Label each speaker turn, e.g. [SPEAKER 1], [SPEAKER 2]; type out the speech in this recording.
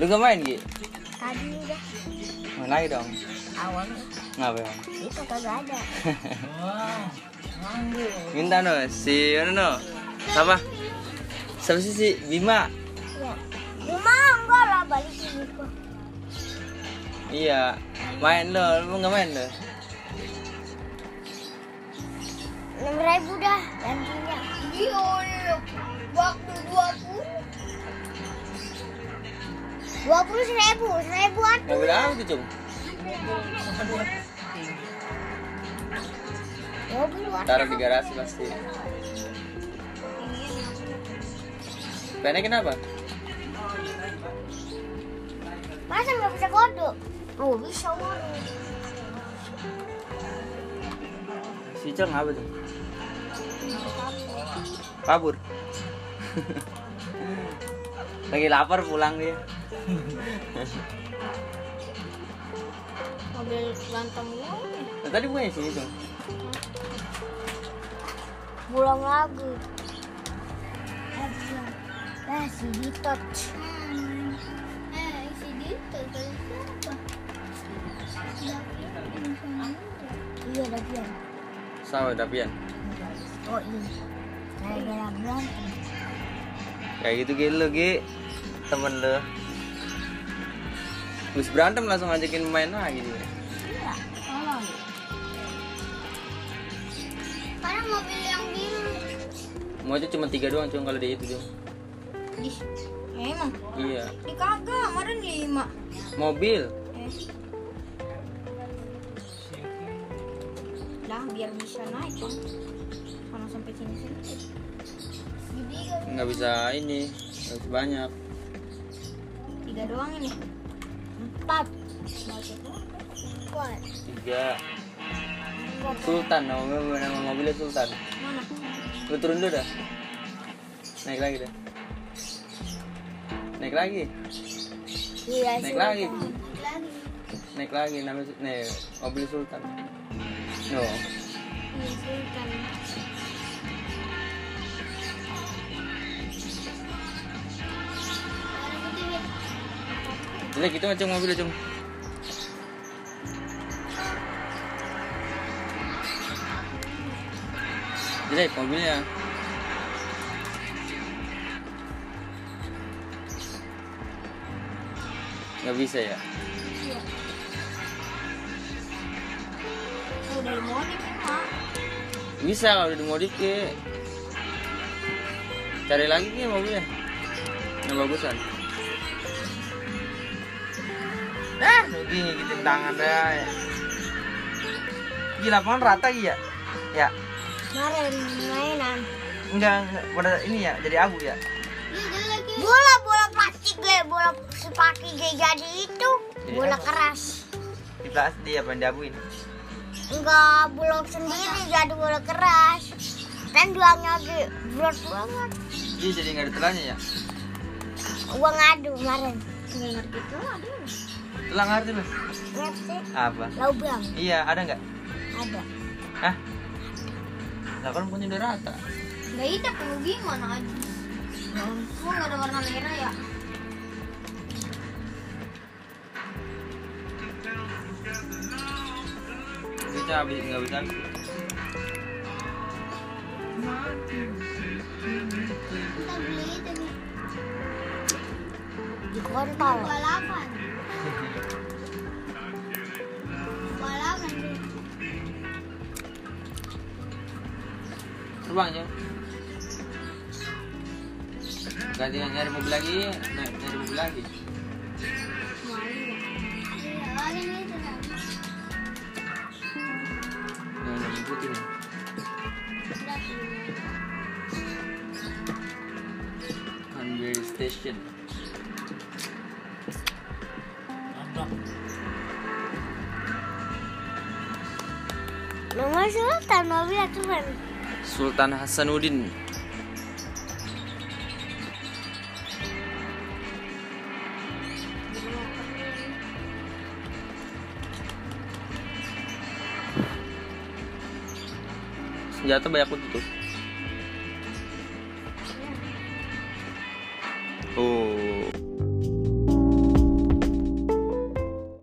[SPEAKER 1] Lu gak main Gi?
[SPEAKER 2] Tadi udah
[SPEAKER 1] Main lagi dong
[SPEAKER 2] awalnya
[SPEAKER 1] Ngapa emang?
[SPEAKER 2] itu kagak ada. Iya.
[SPEAKER 1] Minta no, si mana no? Apa? Siapa sih si Bima?
[SPEAKER 2] Ya. Cuma enggak lah balikin itu.
[SPEAKER 1] Iya Main lo, lu gak main lo?
[SPEAKER 2] Enam ribu dah gantinya. Iya, waktu dua puluh. Dua puluh seribu, seribu
[SPEAKER 1] Gak
[SPEAKER 2] atuh.
[SPEAKER 1] bilang apa tuh Cung?
[SPEAKER 2] Dua puluh atuh.
[SPEAKER 1] Taruh di garasi pasti Pengen kenapa?
[SPEAKER 2] Masa nggak bisa kodok? Oh bisa urut.
[SPEAKER 1] Si Cung apa tuh? Kabur Lagi lapar pulang dia
[SPEAKER 2] Mobil berantem mulu.
[SPEAKER 1] Nah, Tadi bukannya sini Cung?
[SPEAKER 2] Pulang lagi. Eh, si Ditot. Eh, si Ditot. Iya, Davian.
[SPEAKER 1] Sama tapi ya
[SPEAKER 2] Oh, iya. Gara-gara berantem.
[SPEAKER 1] Kayak gitu gitu lo Gi Temen lo Terus berantem langsung ngajakin main lagi dia
[SPEAKER 2] Iya, tolong. Sekarang mobil yang biru.
[SPEAKER 1] Mau aja cuma tiga doang cuma kalau dia itu Cung.
[SPEAKER 2] Ih, memang.
[SPEAKER 1] Iya
[SPEAKER 2] Di kagak, kemarin lima.
[SPEAKER 1] Mobil
[SPEAKER 2] Eh. Lah biar bisa naik kan. Kalau sampai sini sedikit. Jadi
[SPEAKER 1] nggak bisa ini nggak bisa banyak
[SPEAKER 2] tiga doang ini. Empat. Empat.
[SPEAKER 1] Tiga Sultan nama, mobil- nama mobilnya Sultan
[SPEAKER 2] Mana?
[SPEAKER 1] Lu turun dulu dah Naik lagi dah Naik lagi
[SPEAKER 2] Iya,
[SPEAKER 1] Naik lagi. Naik lagi namanya Su- nih, mobil Sultan No Jelek gitu macam mobilnya Cung Jelek mobilnya nggak bisa ya
[SPEAKER 2] Iya. Udah dimodif emang.
[SPEAKER 1] Bisa kalau udah dimodif ke Cari lagi nih mobilnya Yang bagusan Nah, lagi ngigitin tangan dah ya. Gila, pohon rata iya. Ya,
[SPEAKER 2] Kemarin mainan.
[SPEAKER 1] enggak, enggak pada ini ya, jadi abu ya.
[SPEAKER 2] bola bola plastik gue bola sepatu gue jadi itu
[SPEAKER 1] Iya.
[SPEAKER 2] bola keras
[SPEAKER 1] Di plastik dia apa yang diabuin?
[SPEAKER 2] enggak bola sendiri jadi bola keras Kan dan duangnya lagi berat banget
[SPEAKER 1] Iya, jadi enggak ada telanya ya.
[SPEAKER 2] gua ngadu kemarin nggak ngerti tuh ada
[SPEAKER 1] Telang ngerti lu?
[SPEAKER 2] ngerti
[SPEAKER 1] Apa?
[SPEAKER 2] lubang
[SPEAKER 1] Iya, ada enggak?
[SPEAKER 2] ada
[SPEAKER 1] Hah? Lah kan punya udah rata.
[SPEAKER 2] nggak ada kalau gimana aja ya ampun ada warna merah ya
[SPEAKER 1] Kita habis enggak bisa.
[SPEAKER 2] kita beli itu nih di kontol balapan balapan
[SPEAKER 1] Terbang ya? aja. Ganti nyari mobil lagi, ny- nyari mobil lagi. Jangan jangan ngikutin ya. Conway Station.
[SPEAKER 2] Nomor sultan mobil cuman
[SPEAKER 1] Sultan Hasanuddin. Senjata banyak kutu tuh. Oh,